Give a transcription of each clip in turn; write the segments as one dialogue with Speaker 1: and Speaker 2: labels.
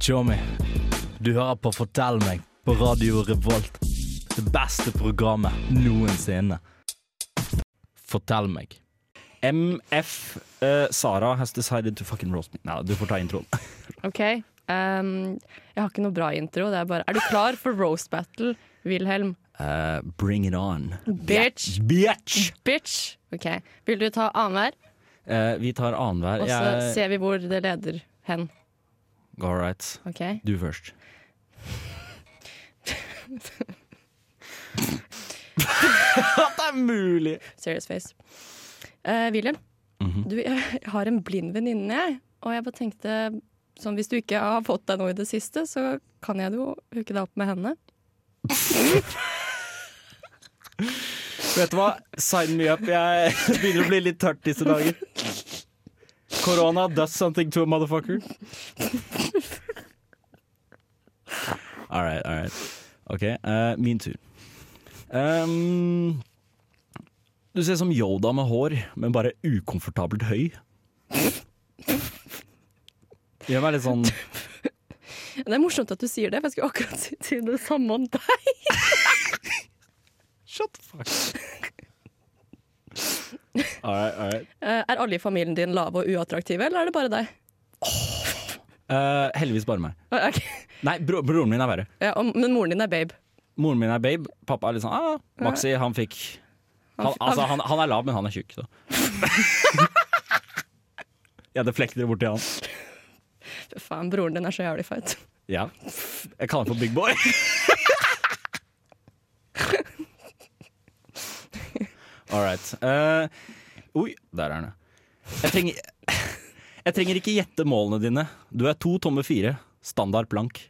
Speaker 1: Tjommi, du hører på Fortell meg på Radio Revolt. Det beste programmet noensinne. Fortell meg.
Speaker 2: MF eh, Sara has decided to fucking roast me. Nei, du får ta introen.
Speaker 3: OK. ehm, jeg har ikke noe bra intro. Det er bare Er du klar for roast battle, Wilhelm?
Speaker 2: Eh, bring it on.
Speaker 3: Bitch!
Speaker 2: Bitch!
Speaker 3: Bitch! OK. Vil du ta annenhver,
Speaker 2: Eh, vi tar annenhver.
Speaker 3: og
Speaker 2: Jeg-
Speaker 3: så ser vi hvor det leder hen?
Speaker 2: All right.
Speaker 3: OK?
Speaker 2: Du først. At det er mulig!
Speaker 3: Serious face. Eh, Wilhelm, du, jeg har en blind venninne, jeg. Og jeg bare tenkte sånn, Hvis du ikke har fått deg noe i det siste, så kan jeg jo hooke deg opp med henne.
Speaker 2: Vet du hva? Sign me up. Jeg begynner å bli litt tørt disse dager. Korona does something to a motherfucker. All right, all right. OK, eh, min tur. Ehm, du ser som Yoda med hår, men bare ukomfortabelt høy. Gjør meg litt sånn
Speaker 3: Det er morsomt at du sier det, for jeg skulle akkurat si- si det samme om deg.
Speaker 2: Shut the fuck All right, all right.
Speaker 3: Eh, er alle i familien din lave og uattraktive, eller er det bare deg?
Speaker 2: Eh, heldigvis bare meg.
Speaker 3: Å, ok.
Speaker 2: Nei, bro, broren min er verre.
Speaker 3: Ja, og, men moren din er babe.
Speaker 2: Moren min er babe, pappa er litt sånn ah, Maxi, han fikk han, Altså, han, han er lav, men han er tjukk, da. ja, det flekker det borti han.
Speaker 3: Fy Faen, broren din er så jævlig feit.
Speaker 2: Ja. Jeg kaller ham for Big Boy. All right. Eh, oi, der er han. ja. Jeg trenger, jeg trenger ikke gjette målene dine. Du er to tomme fire. Standard blank.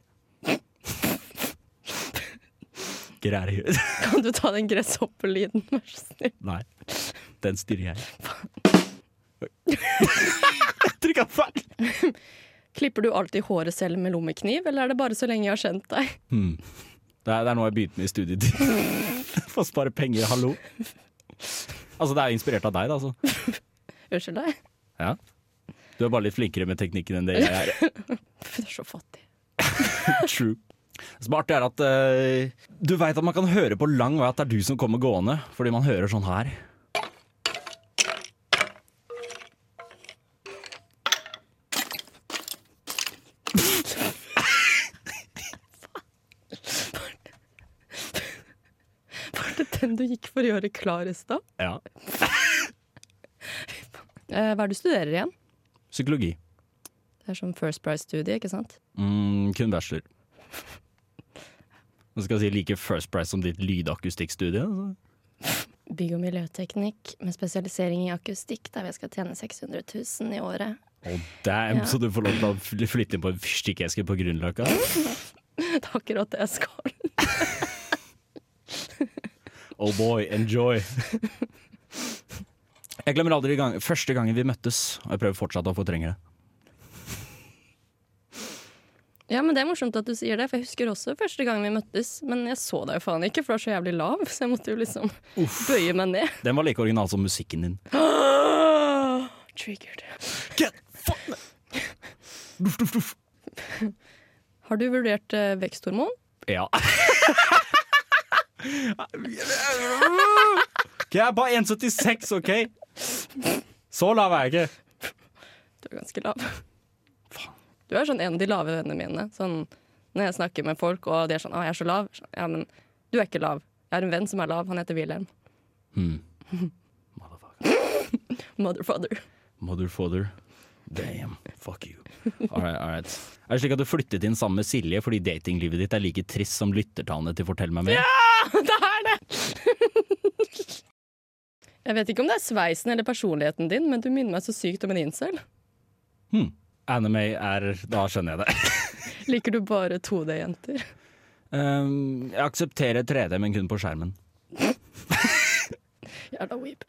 Speaker 2: Greier i huet.
Speaker 3: Kan du ta den gresshoppelyden, vær så snill?
Speaker 2: Nei. Den styrer jeg. Oi. jeg trykka feil.
Speaker 3: Klipper du alltid håret selv med lommekniv, eller er det bare så lenge jeg har kjent deg?
Speaker 2: Det er, det er noe jeg begynte med i studietid. For å spare penger, hallo. Altså, det er inspirert av deg, da. Altså.
Speaker 3: Unnskyld deg.
Speaker 2: Ja. Du er bare litt flinkere med teknikken enn det jeg er.
Speaker 3: Fy, du er så fattig.
Speaker 2: True. Det som er artig, er at eh, du veit at man kan høre på lang vei at det er du som kommer gående, fordi man hører sånn her.
Speaker 3: Var det den du gikk for å gjøre klar i stad?
Speaker 2: Ja.
Speaker 3: Eh, hva er det du studerer igjen?
Speaker 2: Psykologi.
Speaker 3: Det er sånn First Price-studie, ikke sant?
Speaker 2: Mm, kun bachelor. Nå skal jeg si like First Price som ditt lydakustikkstudie. altså.
Speaker 3: Bygg- og miljøteknikk med spesialisering i akustikk, der jeg skal tjene 600 000 i året.
Speaker 2: Oh, damn,
Speaker 3: Ja.
Speaker 2: Så du får lov til å fly- flytte inn på en fyrstikkeske på Grünerløkka?
Speaker 3: Det er akkurat det jeg skal.
Speaker 2: Oh boy, enjoy. Jeg glemmer aldri gang, første gangen vi møttes, og jeg prøver fortsatt å fortrenge det.
Speaker 3: Ja, men Det er morsomt at du sier det, for jeg husker også første gang vi møttes. Men jeg så deg jo faen ikke, for du er så jævlig lav, så jeg måtte jo liksom bøye meg ned.
Speaker 2: Den var like original som musikken din.
Speaker 3: Triggered.
Speaker 2: Get fuck me. Duff, duff, duff.
Speaker 3: Har du vurdert eh, veksthormon?
Speaker 2: Ja. Ok, Jeg er bare 1,76, OK? Så lav er jeg ikke.
Speaker 3: Du er ganske lav. Du er sånn en av de lave vennene mine. Sånn, når jeg snakker med folk, og de er sånn 'Å, jeg er så lav'. Sånn, Ja, men du er ikke lav. Jeg har en venn som er lav. Han heter Wilhelm.
Speaker 2: Motherfucker.
Speaker 3: Motherfather.
Speaker 2: Motherfather. Damn. Fuck you. All right, all right. Er det slik at du flyttet inn sammen med Silje fordi datinglivet ditt er like trist som lyttertallene til Fortell meg mer?
Speaker 3: Det er det! Jeg vet ikke om det er sveisen eller personligheten din, men du minner meg så sykt om en incel.
Speaker 2: Hmm. Anime er Da skjønner jeg det.
Speaker 3: Liker du bare 2D-jenter?
Speaker 2: Um, jeg aksepterer 3D, men kun på skjermen.
Speaker 3: Jævla weep.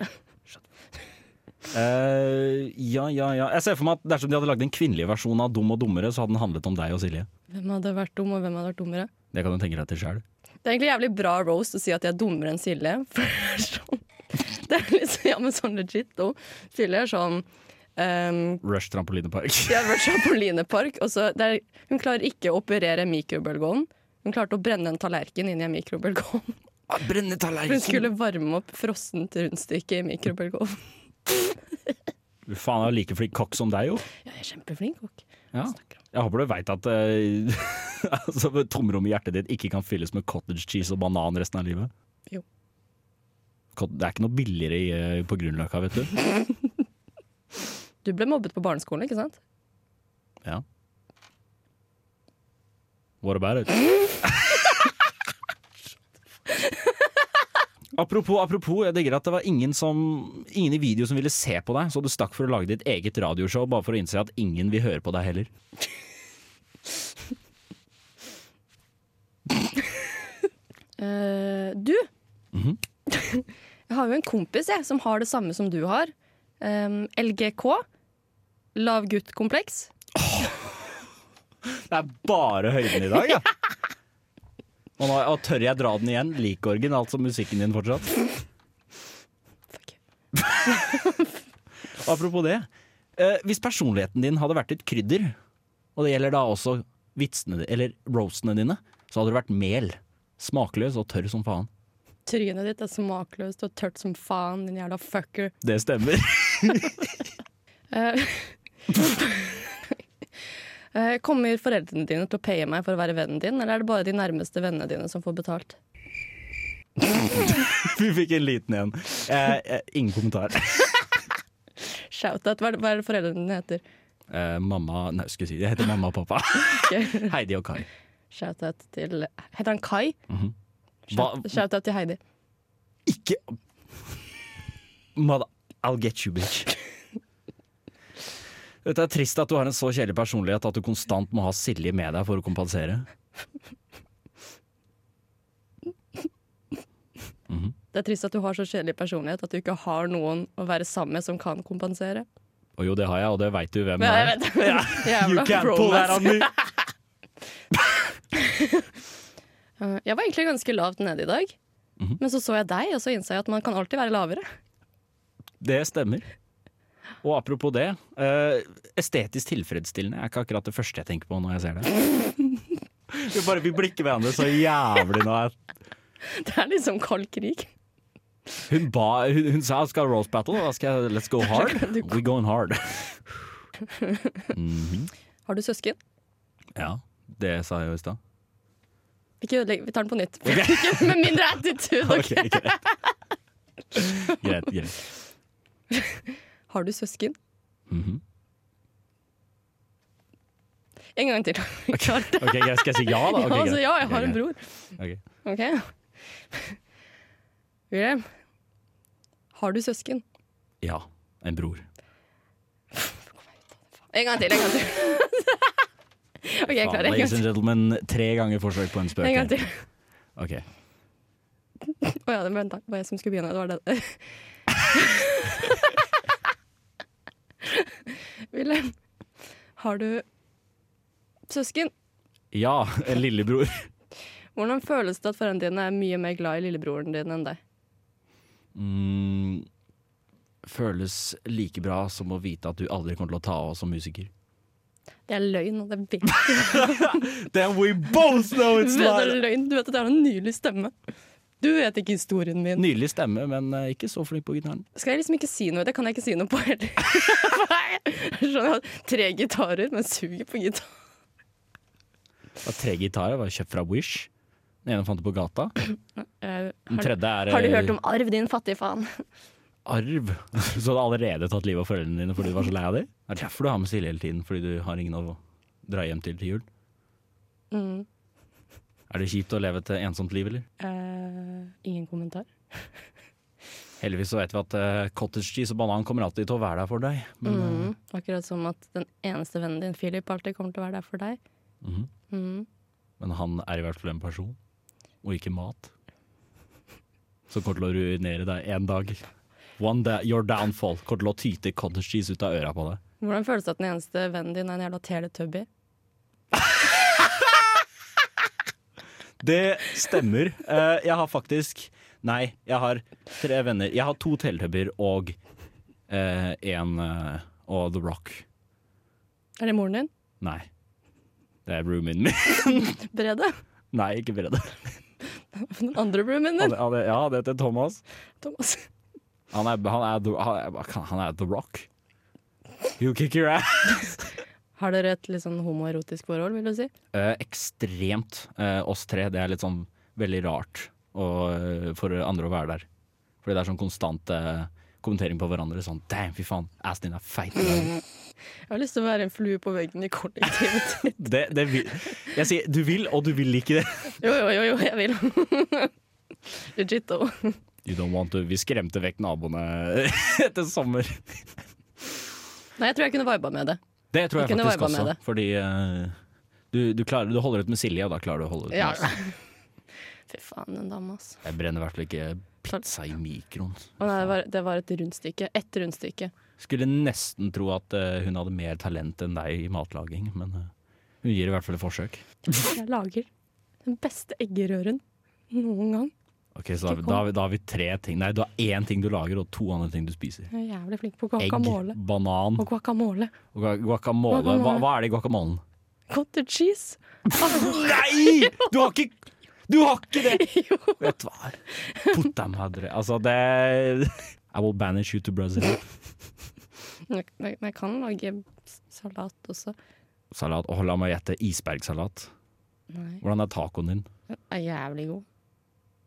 Speaker 2: Eh, ja, ja, ja. Jeg ser for meg at dersom de hadde lagd en kvinnelig versjon av Dum og dummere, så hadde den handlet om deg og Silje.
Speaker 3: Hvem hadde vært dum, og hvem hadde vært dummere?
Speaker 2: Det kan du tenke deg til sjøl.
Speaker 3: Det er egentlig jævlig bra roast å si at jeg er dummere enn Silje. For det er sånn, det er liksom, ja, men sånn legit. Og Silje er sånn Um,
Speaker 2: Rush trampolinepark.
Speaker 3: de har vært trampolinepark, og så der, hun klarer ikke å operere mikrobølgeovn. Hun klarte å brenne en tallerken inn i en mikrobølgeovn.
Speaker 2: Brenne
Speaker 3: For hun skulle varme opp frossent rundstykke i mikrobølgeovn.
Speaker 2: Faen, jeg er like flink kokk som deg, jo.
Speaker 3: Ja, jeg er kjempeflink kokk.
Speaker 2: Ja.
Speaker 3: Snakker om.
Speaker 2: Jeg håper du veit at eh, altså, tomrommet i hjertet ditt ikke kan fylles med cottage cheese og banan resten av livet.
Speaker 3: Jo.
Speaker 2: Cot- Det er ikke noe billigere i, eh, på Grünerløkka, vet du.
Speaker 3: Du ble mobbet på barneskolen, ikke sant?
Speaker 2: Ja. What about it? Apropos, apropos, jeg digger at det var ingen, som, ingen i video som ville se på deg, så du stakk for å lage ditt eget radioshow bare for å innse at ingen vil høre på deg heller.
Speaker 3: Eh, du, jeg har jo en kompis jeg, som har det samme som du har. Um, LGK. Lav gutt-kompleks.
Speaker 2: Det er bare høyden i dag, ja. Og, nå, og tør jeg dra den igjen? Like originalt som musikken din fortsatt.
Speaker 3: Fuck.
Speaker 2: Apropos det. Eh, hvis personligheten din hadde vært et krydder, og det gjelder da også vitsene di- eller roastene dine, så hadde det vært mel. Smakløs og tørr som faen.
Speaker 3: Trynet ditt er smakløst og tørt som faen, din jævla fucker.
Speaker 2: Det stemmer.
Speaker 3: Eh, eh, kommer foreldrene dine til å paye meg for å være vennen din, eller er det bare de nærmeste vennene dine som får betalt?
Speaker 2: Vi fikk en liten en. Eh, eh, ingen kommentar.
Speaker 3: Shout-out. Hva, er det- hva er det foreldrene dine heter?
Speaker 2: Eh, mamma Nei, skulle jeg si det. Jeg heter mamma og pappa.
Speaker 3: Ok.
Speaker 2: Heidi og Kai.
Speaker 3: Shout-out til Heter han Kai?
Speaker 2: Hva-
Speaker 3: Shout-out til Heidi.
Speaker 2: Ikke Mother, I'll get you, bitch. Dette er trist at du har en så kjedelig personlighet at du konstant må ha Silje med deg for å kompensere.
Speaker 3: Det er trist at du har så kjedelig personlighet at du ikke har noen å være sammen med som kan kompensere.
Speaker 2: Og jo, det har jeg, og det veit du hvem
Speaker 3: Men
Speaker 2: er.
Speaker 3: jeg vet Jævla
Speaker 2: You can't pull that
Speaker 3: bromance.
Speaker 2: on me!
Speaker 3: Eh, Jeg var egentlig ganske lavt nede i dag,
Speaker 2: Mhm.
Speaker 3: men så så jeg deg, og så innså jeg at man kan alltid være lavere.
Speaker 2: Det stemmer. Og apropos det, eh, estetisk tilfredsstillende er ikke akkurat det første jeg tenker på når jeg ser det. Vi bare vi blikker hverandre så jævlig nå. at
Speaker 3: Det er liksom kald krig.
Speaker 2: Hun, ba, hun, hun sa hun skal ha roast battle, og da skal jeg let's go hard. We going hard.
Speaker 3: Har du søsken?
Speaker 2: Ja, det sa jeg jo i stad.
Speaker 3: Ikke ødelegg, vi tar den på nytt. Ikke Med mindre attitude. ok?
Speaker 2: Ok, greit. greit, greit.
Speaker 3: Har du søsken?
Speaker 2: Mhm.
Speaker 3: En gang til. Jeg klarte det.
Speaker 2: Ok, greit. Skal jeg si ja, da? Ok,
Speaker 3: ja, altså,
Speaker 2: greit.
Speaker 3: ja, jeg har
Speaker 2: Ok,
Speaker 3: en
Speaker 2: greit.
Speaker 3: bror.
Speaker 2: Ok.
Speaker 3: Ok. William, har du søsken?
Speaker 2: Ja, en bror.
Speaker 3: En gang til, en gang til. OK, jeg klarer
Speaker 2: Faen,
Speaker 3: en gang
Speaker 2: Ladies and
Speaker 3: til.
Speaker 2: gentlemen, tre ganger forsøk på en spøk.
Speaker 3: En gang til.
Speaker 2: her. Ok.
Speaker 3: Å ja, det var- vent da. Det var jeg som skulle begynne. Det var det. Wilhelm, har du søsken?
Speaker 2: Ja, en lillebror.
Speaker 3: Hvordan føles det at foreldrene dine er mye mer glad i lillebroren din enn deg?
Speaker 2: Mm, føles like bra som å vite at du aldri kommer til å ta av som musiker.
Speaker 3: Det er løgn, og det vet du.
Speaker 2: Then we both know
Speaker 3: Du vet, det er løgn. du vet at jeg har en nylig stemme. Du vet ikke historien min.
Speaker 2: Nydelig stemme, men eh, ikke så flink på gitaren.
Speaker 3: Skal jeg liksom ikke si noe? Det kan jeg ikke si noe på heller. Jeg skjønner at tre gitarer, men suger på gitar.
Speaker 2: Det var tre gitarer, var kjøpt fra Wish. Den ene fant du på gata.
Speaker 3: Eh,
Speaker 2: Den
Speaker 3: Har,
Speaker 2: tredje er
Speaker 3: har du
Speaker 2: eh,
Speaker 3: hørt om arv, din fattige faen?
Speaker 2: arv. Så du hadde allerede tatt livet av foreldrene dine fordi du var så lei av dem? Det er derfor du har med Silje hele tiden, fordi du har ingen å dra hjem til til jul.
Speaker 3: Mm.
Speaker 2: Er det kjipt å leve et eh, ensomt liv, eller?
Speaker 3: Eh, ingen kommentar.
Speaker 2: Heldigvis så vet vi at eh, cottage cheese og banan kommer alltid til å være der for deg. Men eh,
Speaker 3: Mm. Akkurat som at den eneste vennen din, Philip, alltid kommer til å være der for deg.
Speaker 2: Mhm.
Speaker 3: Mm.
Speaker 2: Men han er i hvert fall en person, og ikke mat. Som kommer til å ruinere deg en dag. One day, your downfall. Kommer til å tyte cottage cheese ut av øra på deg.
Speaker 3: Hvordan føles det at den eneste vennen din er en jævla teletubby?
Speaker 2: Det stemmer. Eh, jeg har faktisk Nei, jeg har tre venner. Jeg har to teletubber og én eh, og The Rock.
Speaker 3: Er det moren din?
Speaker 2: Nei. Det er roomien min.
Speaker 3: Brede?
Speaker 2: Nei, ikke Brede.
Speaker 3: Den andre broomien
Speaker 2: Han,
Speaker 3: din?
Speaker 2: han, ja, det heter Thomas.
Speaker 3: Thomas.
Speaker 2: Han er, han, er, The- han, er, han er The Rock. You kick your ass.
Speaker 3: Har dere et litt sånn homoerotisk forhold, vil du si?
Speaker 2: Eh, ekstremt eh, oss tre. Det er litt sånn veldig rart å, eh, for andre å være der. Fordi det er sånn konstant eh, kommentering på hverandre. Sånn damn, fy faen, assen din er feit. i dag».
Speaker 3: Jeg har lyst til å være en flue på veggen i kollektivet.
Speaker 2: Det, det vil. Jeg sier du vil, og du vil ikke det.
Speaker 3: Jo, jo, jo, jo jeg vil. Legit, though.
Speaker 2: You don't want to. Vi skremte vekk naboene etter sommer.
Speaker 3: Nei, jeg tror jeg kunne viba med det.
Speaker 2: Det tror jeg
Speaker 3: Vi kunne
Speaker 2: faktisk
Speaker 3: viba med
Speaker 2: også,
Speaker 3: det.
Speaker 2: fordi eh, du, du, klarer, du holder ut med Silje, og da klarer du å holde ut med
Speaker 3: Ja.
Speaker 2: oss.
Speaker 3: Fy faen, den dama, altså.
Speaker 2: Jeg brenner i hvert fall ikke pizza i mikroen.
Speaker 3: Å nei, det var, det var et rundstykke. Ett rundstykke.
Speaker 2: Skulle nesten tro at eh, hun hadde mer talent enn deg i matlaging, men eh, hun gir i hvert fall et forsøk.
Speaker 3: Jeg lager den beste eggerøren noen gang.
Speaker 2: Ok, Så da, har vi- da, har vi- da har vi tre ting. Nei, du har én ting du lager, og to andre ting du spiser.
Speaker 3: Jeg er jævlig flink på
Speaker 2: Egg,
Speaker 3: guacamole.
Speaker 2: banan
Speaker 3: Og guacamole.
Speaker 2: og gua- guacamole. Hva, hva er det i guacamolen?
Speaker 3: Cottage cheese.
Speaker 2: Nei! Du har ikke Du har ikke det! Vet du hva? Put dem hadre. Altså, det I will banish you to Brazil.
Speaker 3: Men jeg- men jeg kan lage s- salat også.
Speaker 2: Salat. Åh, la meg gjette. Isbergsalat.
Speaker 3: Nei,
Speaker 2: Hvordan er tacoen din?
Speaker 3: den er jævlig god.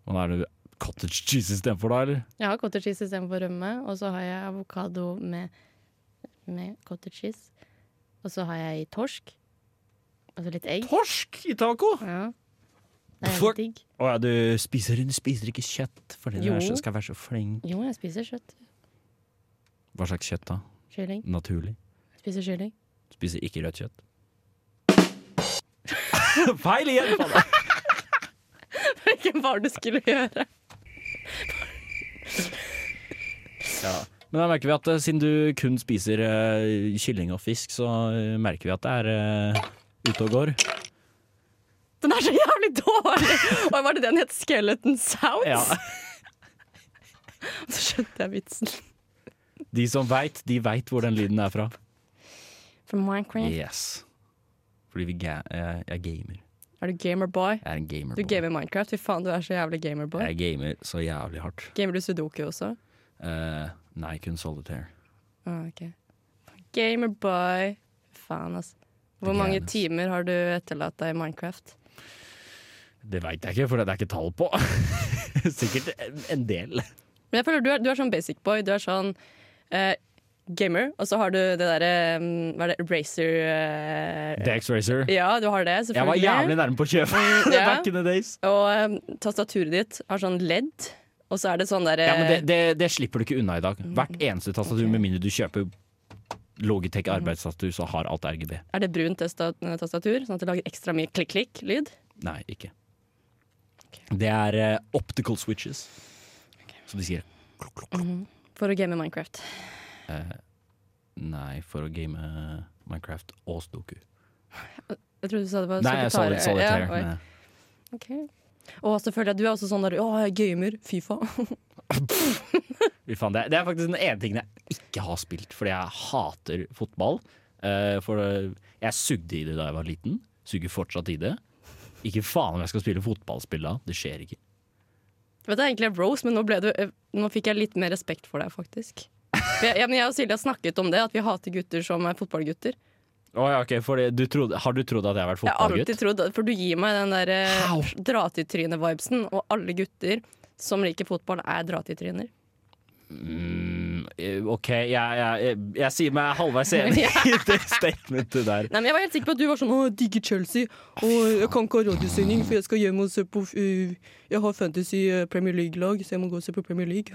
Speaker 2: Hvordan er det cottage cheese istedenfor, da? eller?
Speaker 3: Jeg har cottage cheese istedenfor rømme, og så har jeg avokado med, med cottage cheese. Og så har jeg torsk. Og så litt egg.
Speaker 2: Torsk i taco!
Speaker 3: Ja. Det er
Speaker 2: Fuck.
Speaker 3: jævlig digg.
Speaker 2: Å ja, du spiser, du spiser ikke kjøtt fordi du
Speaker 3: Jo.
Speaker 2: er så, skal være så flink.
Speaker 3: Jo, jeg spiser kjøtt.
Speaker 2: Hva slags kjøtt, da?
Speaker 3: Kylling.
Speaker 2: Naturlig.
Speaker 3: Jeg Spiser kylling.
Speaker 2: Spiser ikke rødt kjøtt. Feil igjen! faen.
Speaker 3: Hva var det du skulle gjøre?
Speaker 2: Ja. Men da merker vi at eh, siden du kun spiser eh, kylling og fisk, så eh, merker vi at det er eh, ute og går.
Speaker 3: Den er så jævlig dårlig! Og var det den het Skeleton Sounds?
Speaker 2: Ja.
Speaker 3: Så skjønte jeg vitsen.
Speaker 2: De som veit, de veit hvor den lyden er fra.
Speaker 3: Fra Minecraft.
Speaker 2: Yes. Fordi vi ga jeg, jeg gamer.
Speaker 3: Er du gamerboy?
Speaker 2: Jeg er en gamer.
Speaker 3: Du
Speaker 2: boy.
Speaker 3: gamer Minecraft? Fy faen, du er så jævlig gamerboy.
Speaker 2: Jeg gamer så jævlig hardt.
Speaker 3: Gamer du Sudoku også?
Speaker 2: Eh, nei, kun solitaire.
Speaker 3: Ah, ok. Gamerboy. Fy faen, altså. Hvor
Speaker 2: Det er
Speaker 3: mange
Speaker 2: gærent, ass.
Speaker 3: timer har du etterlatt deg i Minecraft?
Speaker 2: Det veit jeg ikke, for det er ikke tall på. Sikkert en- en del.
Speaker 3: Men jeg føler du er, du er sånn basic boy. Du er sånn eh, gamer, og så har du det derre mm, Hva er det? Racer eh,
Speaker 2: Dex Racer.
Speaker 3: Ja, du har det,
Speaker 2: Jeg var
Speaker 3: selvfølgelig.
Speaker 2: jævlig nærme på å kjøpe
Speaker 3: Ja.
Speaker 2: back in the days.
Speaker 3: Og eh, tastaturet ditt har sånn ledd, og så er det sånn derre
Speaker 2: Ja, men det, det, det slipper du ikke unna i dag. Hvert
Speaker 3: Mm,
Speaker 2: eneste tastatur, med mindre du kjøper Logitech arbeidstastatur, så har alt RGB.
Speaker 3: eh, Er det brunt testa- tastatur, sånn at det lager ekstra mye klikk-klikk-lyd?
Speaker 2: Nei, ikke.
Speaker 3: Ok.
Speaker 2: Det er eh, optical switches, som de sier. Klok, klok,
Speaker 3: Mm.
Speaker 2: klok.
Speaker 3: For å game Minecraft.
Speaker 2: Nei, for å game eh, Minecraft og Stoku.
Speaker 3: Jeg trodde du sa det var
Speaker 2: Nei, jeg sa litt solitaire.
Speaker 3: Ja, oi.
Speaker 2: men-
Speaker 3: Ok. Og så føler jeg at du er også sånn der Å, jeg gamer. Fifa.
Speaker 2: Fy faen, det, er- det er faktisk den ene tingen jeg ikke har spilt, fordi jeg hater fotball. Eh, for eh, jeg sugde i det da jeg var liten. Suger fortsatt i det. Ikke faen om jeg skal spille fotballspill da. Det skjer ikke.
Speaker 3: Vet du, egentlig er Rose, men nå, ble du, eh, nå fikk jeg litt mer respekt for deg, faktisk. For Jeg, jeg, men jeg og Silje har snakket om det, at vi hater gutter som er fotballgutter.
Speaker 2: Å ja, ok, for det- du trodde, Har du trodd at jeg har vært
Speaker 3: Jeg har alltid
Speaker 2: fotballgutt?
Speaker 3: trodd, For du gir meg den der eh,
Speaker 2: How?
Speaker 3: dra-til-trynet-vibesen, og alle gutter som liker fotball, er dra-til-tryner.
Speaker 2: Mm, eh, ok, jeg, jeg, jeg, jeg sier meg halvveis enig i det statementet der.
Speaker 3: Nei, men Jeg var helt sikker på at du var sånn 'Å, jeg digger Chelsea', og 'jeg kan ikke ha radiosending, for jeg skal hjem og se på eh, Jeg har Fantasy eh, Premier League-lag, så jeg må gå og se på Premier League.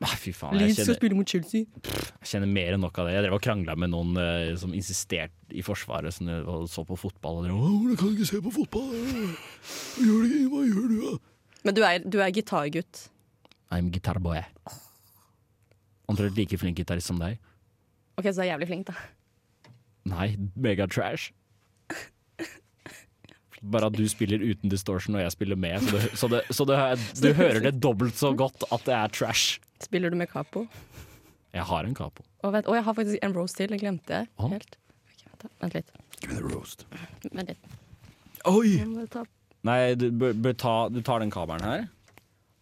Speaker 2: Nei, Ah, fy faen, jeg
Speaker 3: Leeds skal
Speaker 2: kjenner,
Speaker 3: spille mot Chelsea.
Speaker 2: jeg kjenner mer enn nok av det. Jeg drev og krangla med noen eh, som insisterte i Forsvaret som, og så på fotball. Og drev, «Åh, du kan ikke se på fotball! øh. Hva Gjør du, hva gjør du? da?»
Speaker 3: Men du er, du er gitargutt.
Speaker 2: I'm gitarboy. Omtrent like flink gitarist som deg.
Speaker 3: OK, så du er jævlig flink, da.
Speaker 2: Nei, megatrash. Bare at du spiller uten distortion og jeg spiller med, så, det, så, det, så det, du hører det dobbelt så godt at det er trash.
Speaker 3: Spiller du med capo?
Speaker 2: Jeg har en capo.
Speaker 3: Og vet, å, jeg har faktisk en rose til. Jeg glemte det
Speaker 2: Å.
Speaker 3: helt. Ok, vent, da. vent litt. Vent litt.
Speaker 2: Oi!
Speaker 3: Jeg må ta
Speaker 2: Nei, du, bør, bør ta, du tar den kabelen her,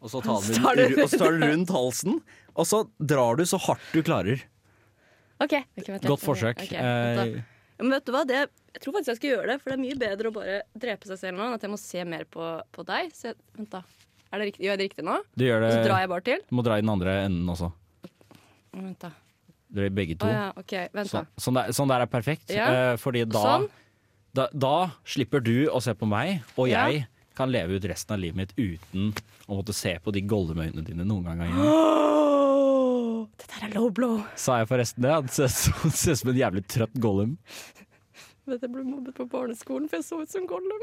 Speaker 2: og så tar du,
Speaker 3: Så tar du-
Speaker 2: den- og så tar du rundt halsen, og så drar du så hardt du klarer.
Speaker 3: Ok, ok, vent litt.
Speaker 2: Godt forsøk.
Speaker 3: Ok, vent da.
Speaker 2: Eh,
Speaker 3: Ja, Men vet du hva, det, jeg tror faktisk jeg skal gjøre det, for det er mye bedre å bare drepe seg selv nå enn at jeg må se mer på, på deg. Så jeg, vent, da. Er det riktig? Gjør jeg det riktig nå?
Speaker 2: du gjør
Speaker 3: Og så drar
Speaker 2: det
Speaker 3: jeg bare til?
Speaker 2: Du må dra i den andre enden også.
Speaker 3: Mm, Vent, da.
Speaker 2: Dere begge to.
Speaker 3: Å ja, OK. Vent,
Speaker 2: sånn,
Speaker 3: da.
Speaker 2: sånn, der, sånn der er perfekt.
Speaker 3: Ja.
Speaker 2: eh, fordi da,
Speaker 3: Sånn.
Speaker 2: da Da slipper du å se på meg, og
Speaker 3: Ja.
Speaker 2: jeg kan leve ut resten av livet mitt uten å måtte se på de goldemøynene dine noen gang. igjen.
Speaker 3: Det der er low blow.
Speaker 2: Sa jeg forresten det? Han ser så- ser ut som en jævlig trøtt gollum.
Speaker 3: Vet du, jeg ble mobbet på barneskolen, for jeg så ut som Gollum.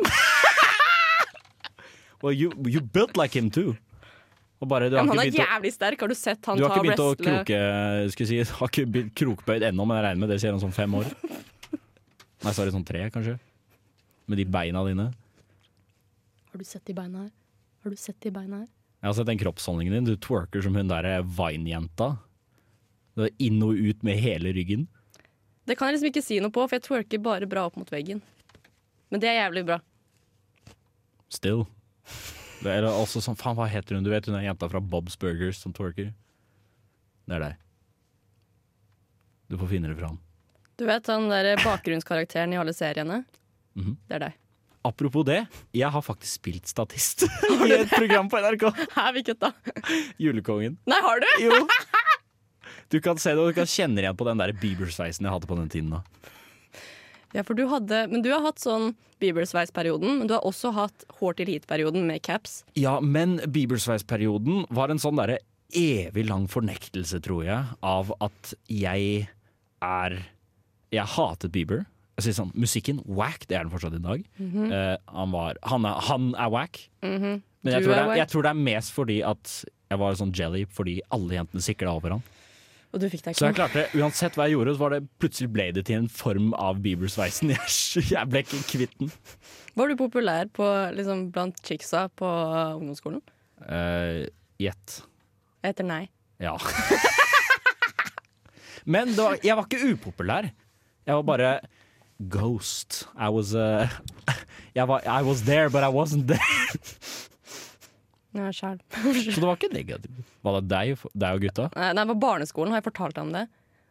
Speaker 2: Well, you, you built like him too. Og bare, du har
Speaker 3: Men
Speaker 2: ikke
Speaker 3: han er
Speaker 2: begynt å
Speaker 3: jævlig sterk. Har du sett han
Speaker 2: Du
Speaker 3: ta
Speaker 2: har ikke begynt å
Speaker 3: wrestle?
Speaker 2: kroke Skulle jeg si, har ikke begynt krokbøyd ennå, men jeg regner med det sier han sånn fem år. Nei, sorry, sånn tre, kanskje. Med de beina dine.
Speaker 3: Har du sett de beina her? Har du sett de beina her?
Speaker 2: Jeg har sett den kroppsholdningen din. Du twerker som hun der eh, Vine-jenta. Du er Inn og ut med hele ryggen.
Speaker 3: Det kan jeg liksom ikke si noe på, for jeg twerker bare bra opp mot veggen. Men det er jævlig bra.
Speaker 2: Still. Det er også sånn, faen, hva heter hun? Du vet hun er jenta fra Bob's Burgers som twerker. Det er deg. Du får finne det fram.
Speaker 3: Du vet han der bakgrunnskarakteren i alle seriene?
Speaker 2: Mhm.
Speaker 3: Det er deg.
Speaker 2: Apropos det, jeg har faktisk spilt statist i et program på NRK.
Speaker 3: Hæ, hvilket da?
Speaker 2: Julekongen.
Speaker 3: Nei, har du?
Speaker 2: Jo. Du kan se det, og du kan kjenne igjen på den der Bieber-sveisen jeg hadde på den tiden. da.
Speaker 3: Ja, for du hadde Men du har hatt sånn Bieber-sveis-perioden, men du har også hatt hår til hit-perioden med caps.
Speaker 2: Ja, men Bieber-sveisperioden var en sånn derre evig lang fornektelse, tror jeg, av at jeg er Jeg hatet Bieber. Jeg sier sånn, Musikken, whack, det er den fortsatt i dag.
Speaker 3: Mhm.
Speaker 2: Eh, han, var, han, er, han er whack. Men jeg tror,
Speaker 3: Du er
Speaker 2: det, er-
Speaker 3: whack.
Speaker 2: jeg tror det er mest fordi at jeg var sånn jelly fordi alle jentene sikla over han.
Speaker 3: Og du fikk deg
Speaker 2: Så jeg
Speaker 3: ikke noe.
Speaker 2: klarte, uansett hva jeg gjorde, så var det plutselig ble det til en form av Bieber-sveisen. Jeg, jeg ble ikke kvitt den.
Speaker 3: Var du populær på, liksom, blant chicksa på uh, ungdomsskolen?
Speaker 2: Eh, Gjett.
Speaker 3: Jeg heter nei.
Speaker 2: ja. Men det var, jeg var ikke upopulær. Jeg var bare ghost. I was, eh, jeg var, I was there, but I wasn't there.
Speaker 3: Ja, sjæl.
Speaker 2: Så det var ikke negativt. Var det deg, deg og gutta?
Speaker 3: Nei, nei, på barneskolen har jeg fortalt deg om det.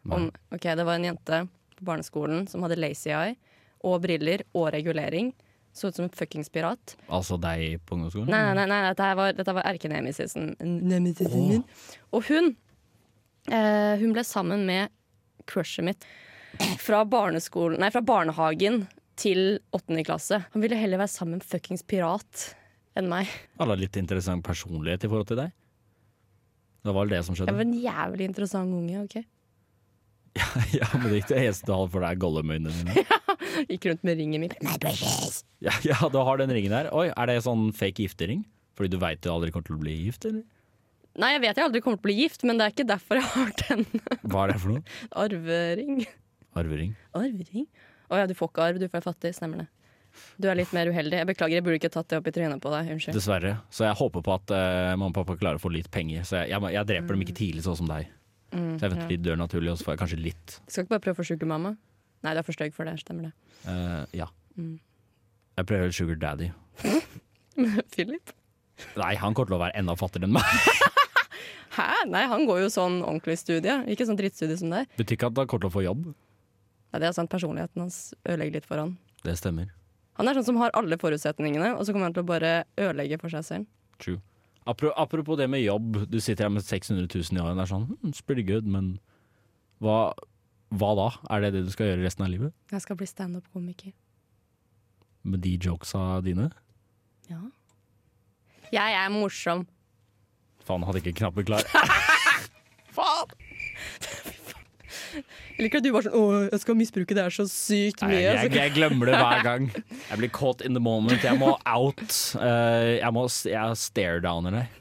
Speaker 3: Om, ok, Det var en jente på barneskolen som hadde lazy eye og briller og regulering. Så ut som en fuckings pirat.
Speaker 2: Altså deg på ungdomsskolen?
Speaker 3: Nei, nei, nei, nei dette, her var, dette var erkenemesisen nemesisen min. Og hun eh, Hun ble sammen med crushet mitt fra, barneskolen, nei, fra barnehagen til åttende klasse. Han ville heller være sammen med en fuckings pirat enn meg.
Speaker 2: Alle har litt interessant personlighet i forhold til deg. Det var vel det som
Speaker 3: Jeg
Speaker 2: skjedde.
Speaker 3: var en jævlig interessant unge. ok?
Speaker 2: ja, men det gikk det eneste du hadde for deg, gollumøynene dine.
Speaker 3: Gikk rundt med ringen min.
Speaker 2: ja, ja, du har den ringen der. Oi, er det sånn fake giftering? Fordi du veit du aldri kommer til å bli gift, eller?
Speaker 3: Nei, jeg vet jeg aldri kommer til å bli gift, men det er ikke derfor jeg har den.
Speaker 2: Hva er det for noe?
Speaker 3: Arvering.
Speaker 2: Arvering.
Speaker 3: Arvering? Å ja, du får ikke arv, du får fattig. Stemmer det. Du er litt mer uheldig. Jeg beklager, jeg burde ikke tatt det opp i trynet på deg. Unnskyld.
Speaker 2: Dessverre. Så jeg håper på at eh, mamma og pappa klarer å få litt penger. Så jeg, jeg, må- jeg dreper dem ikke tidlig, sånn som deg. så jeg venter til de dør naturlig, og så får jeg kanskje litt.
Speaker 3: Skal ikke bare prøve å forsjuke mamma? Nei, du er for stygg for det. Stemmer det.
Speaker 2: Eh, ja. Jeg prøver Sugar Daddy.
Speaker 3: Philip?
Speaker 2: Nei, han kommer til å være enda fattigere enn meg.
Speaker 3: Hæ? Nei, han går jo sånn ordentlig studie. Ikke sånn drittstudie som deg.
Speaker 2: Betyr ikke at han kommer til å få jobb.
Speaker 3: Nei, det er sant, personligheten hans ødelegger litt for han.
Speaker 2: Det stemmer.
Speaker 3: Han er sånn som har alle forutsetningene, og så kommer han til å bare ødelegge for seg selv.
Speaker 2: True. Apro apropos det med jobb. Du sitter her med 600 000 i året og er sånn hm, It's pretty good, men hva, hva da? Er det det du skal gjøre resten av livet?
Speaker 3: Jeg skal bli standup-komiker.
Speaker 2: Med de jokesa dine?
Speaker 3: Ja. Jeg er morsom.
Speaker 2: Faen, hadde ikke knappen klar.
Speaker 3: Faen! Jeg liker at du bare sånn 'Å, jeg skal misbruke det her så sykt
Speaker 2: Nei,
Speaker 3: mye'.
Speaker 2: jeg, jeg, jeg glemmer det hver gang. Jeg blir caught in the moment. Jeg må out. Eh, jeg må s- jeg stare downer deg.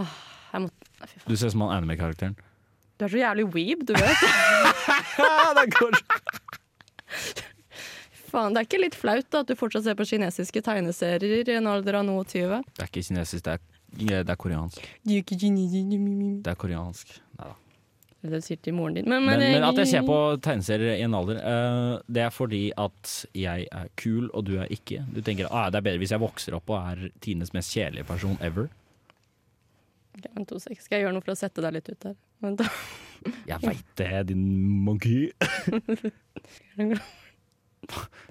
Speaker 3: Jeg må,
Speaker 2: Du ser ut som han anime-karakteren.
Speaker 3: du er så jævlig weeb, du vet. Faen, det er ikke litt flaut da at du fortsatt ser på kinesiske tegneserier i en alder av noe 20?
Speaker 2: eh, Det er ikke kinesisk, det er, det er koreansk.
Speaker 3: Du er ikke kinesisk.
Speaker 2: Det er koreansk.
Speaker 3: Det du sier til moren din. Men,
Speaker 2: Men,
Speaker 3: men,
Speaker 2: men at jeg ser på tegneserier i en alder, eh, det er fordi at jeg er kul, og du er ikke. Du tenker ah, det er bedre hvis jeg vokser opp og er Tines mest kjedelige person ever.
Speaker 3: Ok, vent to sek. Skal jeg gjøre noe for å sette deg litt ut der? Vent da.
Speaker 2: Jeg veit det, din monkey.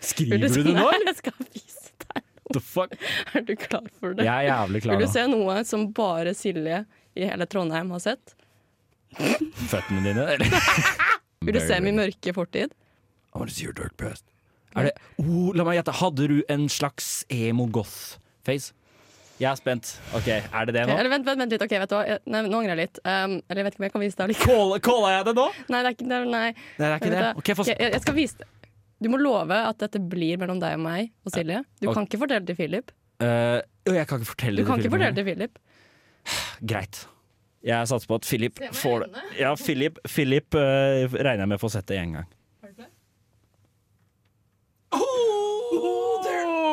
Speaker 2: Skriver du det nå?
Speaker 3: Nei, Jeg skal vise deg.
Speaker 2: The fuck?
Speaker 3: Er du klar for det?
Speaker 2: Jeg er jævlig klar
Speaker 3: Vil du
Speaker 2: nå.
Speaker 3: se noe som bare Silje i hele Trondheim har sett?
Speaker 2: Føttene dine, eller?
Speaker 3: Vil du se min mørke fortid?
Speaker 2: I wanna see your dark past. Er det oh, La meg gjette. Hadde du en slags emo-goth-face? Jeg er spent. OK, er det det nå?
Speaker 3: Eller vent, vent, vent litt. Ok, vet du hva? Jeg- Nei, nå angrer jeg litt. Um, eller jeg vet ikke om jeg kan vise deg allikevel.
Speaker 2: Calla calla jeg det nå?
Speaker 3: Nei, det er ikke det. er- Nei.
Speaker 2: Nei, det er ikke det.
Speaker 3: Vet du hva?
Speaker 2: Ok, få
Speaker 3: Ok,
Speaker 2: se.
Speaker 3: jeg, jeg skal vise deg. Du må love at dette blir mellom deg og meg og Silje. Du
Speaker 2: Ok.
Speaker 3: kan ikke fortelle det til Philip.
Speaker 2: Eh, jo, jeg kan ikke fortelle
Speaker 3: Du kan ikke
Speaker 2: Philip nå.
Speaker 3: fortelle det til Philip.
Speaker 2: Greit. Jeg satser på at Philip
Speaker 3: Se meg i
Speaker 2: får det.
Speaker 3: øynene.
Speaker 2: Ja, Philip, Philip eh, regner jeg med får sett det én gang. Oh!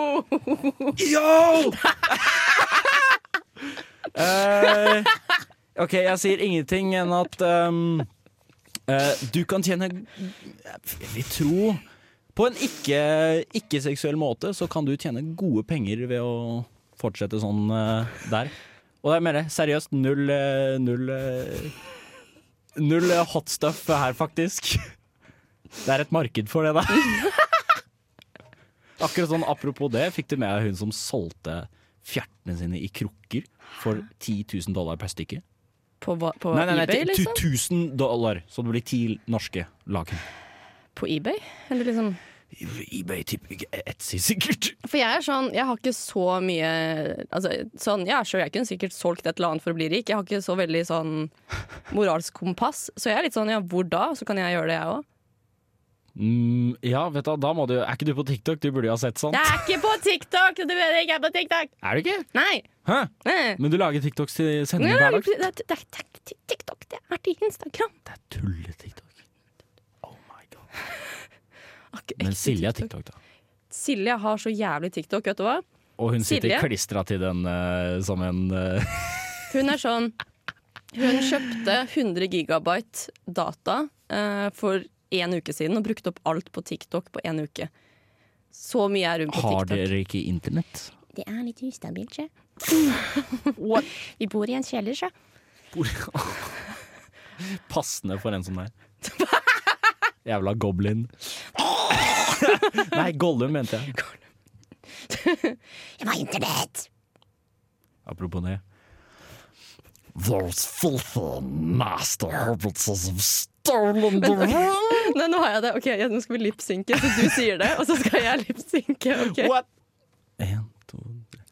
Speaker 2: Yo! Eh, OK, jeg sier ingenting enn at ehm, eh, du kan tjene Jeg vil tro På en ikke- ikke-seksuell måte så kan du tjene gode penger ved å fortsette sånn eh, der. Og jeg mener seriøst null eh, Null, eh, null eh, hot stuff her, faktisk. Det er et marked for det der. Akkurat sånn Apropos det, fikk du med deg hun som solgte fjertene sine i krukker for 10 000 dollar per stykke?
Speaker 3: På, hva- på
Speaker 2: Nei, nei, nei,
Speaker 3: eBay,
Speaker 2: ti-
Speaker 3: liksom?
Speaker 2: 1000 dollar, så det blir ti norske laken.
Speaker 3: På eBay? Eller liksom
Speaker 2: eBay tipper ikke Etsy, sikkert.
Speaker 3: For jeg er sånn, jeg har ikke så mye altså, sånn, Ja, sure, jeg kunne sikkert solgt et eller annet for å bli rik. Jeg har ikke så veldig sånn moralsk kompass. Så jeg er litt sånn, ja, hvor da? Så kan jeg gjøre det, jeg òg.
Speaker 2: Mm, ja, vet du, hva, da må du Er ikke du på TikTok? Du burde jo ha sett sånt.
Speaker 3: Jeg er ikke på TikTok! Du mener ikke jeg er på TikTok!
Speaker 2: Er du ikke?
Speaker 3: Nei!
Speaker 2: Hæ?
Speaker 3: Nei.
Speaker 2: Men du lager TikToks til
Speaker 3: Nei,
Speaker 2: sending
Speaker 3: nei,
Speaker 2: hver
Speaker 3: nei,
Speaker 2: dag?
Speaker 3: Det er det er- det er ikke TikTok, det er til Instagram.
Speaker 2: Det er tulle-TikTok. Oh my god.
Speaker 3: Har ikke
Speaker 2: Men
Speaker 3: ekte
Speaker 2: Silje har TikTok, da.
Speaker 3: Silje har så jævlig TikTok, vet du hva.
Speaker 2: Og hun sitter
Speaker 3: Silje?
Speaker 2: klistra til den eh, som en eh,
Speaker 3: Hun er sånn Hun kjøpte 100 gigabyte data eh, for én uke siden og brukte opp alt på TikTok på én uke. Så mye er hun på
Speaker 2: Har
Speaker 3: TikTok.
Speaker 2: dere ikke internett?
Speaker 4: Det er litt ustabilt, sjø.
Speaker 2: What?
Speaker 4: Vi bor i en kjeller, sjø.
Speaker 2: Passende for en som deg. Jævla goblin. Nei, Gollum mente jeg.
Speaker 4: Jeg var internett!
Speaker 2: Apropos det. Those filthy master hobbitses have stolen the room!
Speaker 3: Nei, nå har jeg det. Ok, jeg- Nå skal vi lipsynke, så du sier det, og så skal jeg lipsynke. ok.
Speaker 2: What? En, to, tre.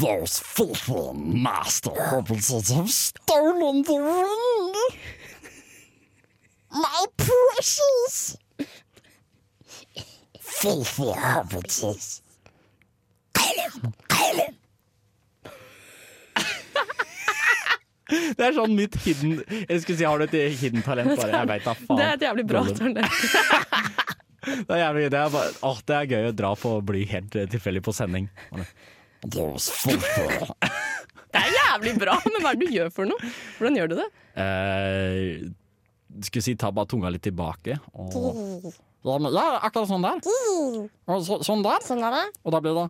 Speaker 2: Those filthy master hobbitses have stolen the room!
Speaker 4: My precious! Filthy hobbitses.
Speaker 2: Det er sånn mitt hidden Jeg skulle si, har du et hidden talent, bare? Jeg vet da faen.
Speaker 3: Det er et jævlig bra
Speaker 2: Gollum.
Speaker 3: talent.
Speaker 2: Det er, jævlig, gøy. det, er bare, åh, det er gøy å dra på og bli helt eh, tilfeldig på sending.
Speaker 4: Those filthy
Speaker 3: Det er jævlig bra, men hva er det du gjør for noe? Hvordan gjør du det?
Speaker 2: Eh, skulle si ta bare tunga litt tilbake. Og, ja, men- ja, akkurat sånn der. Og så, sånn der.
Speaker 4: Sånn er det.
Speaker 2: Og da blir det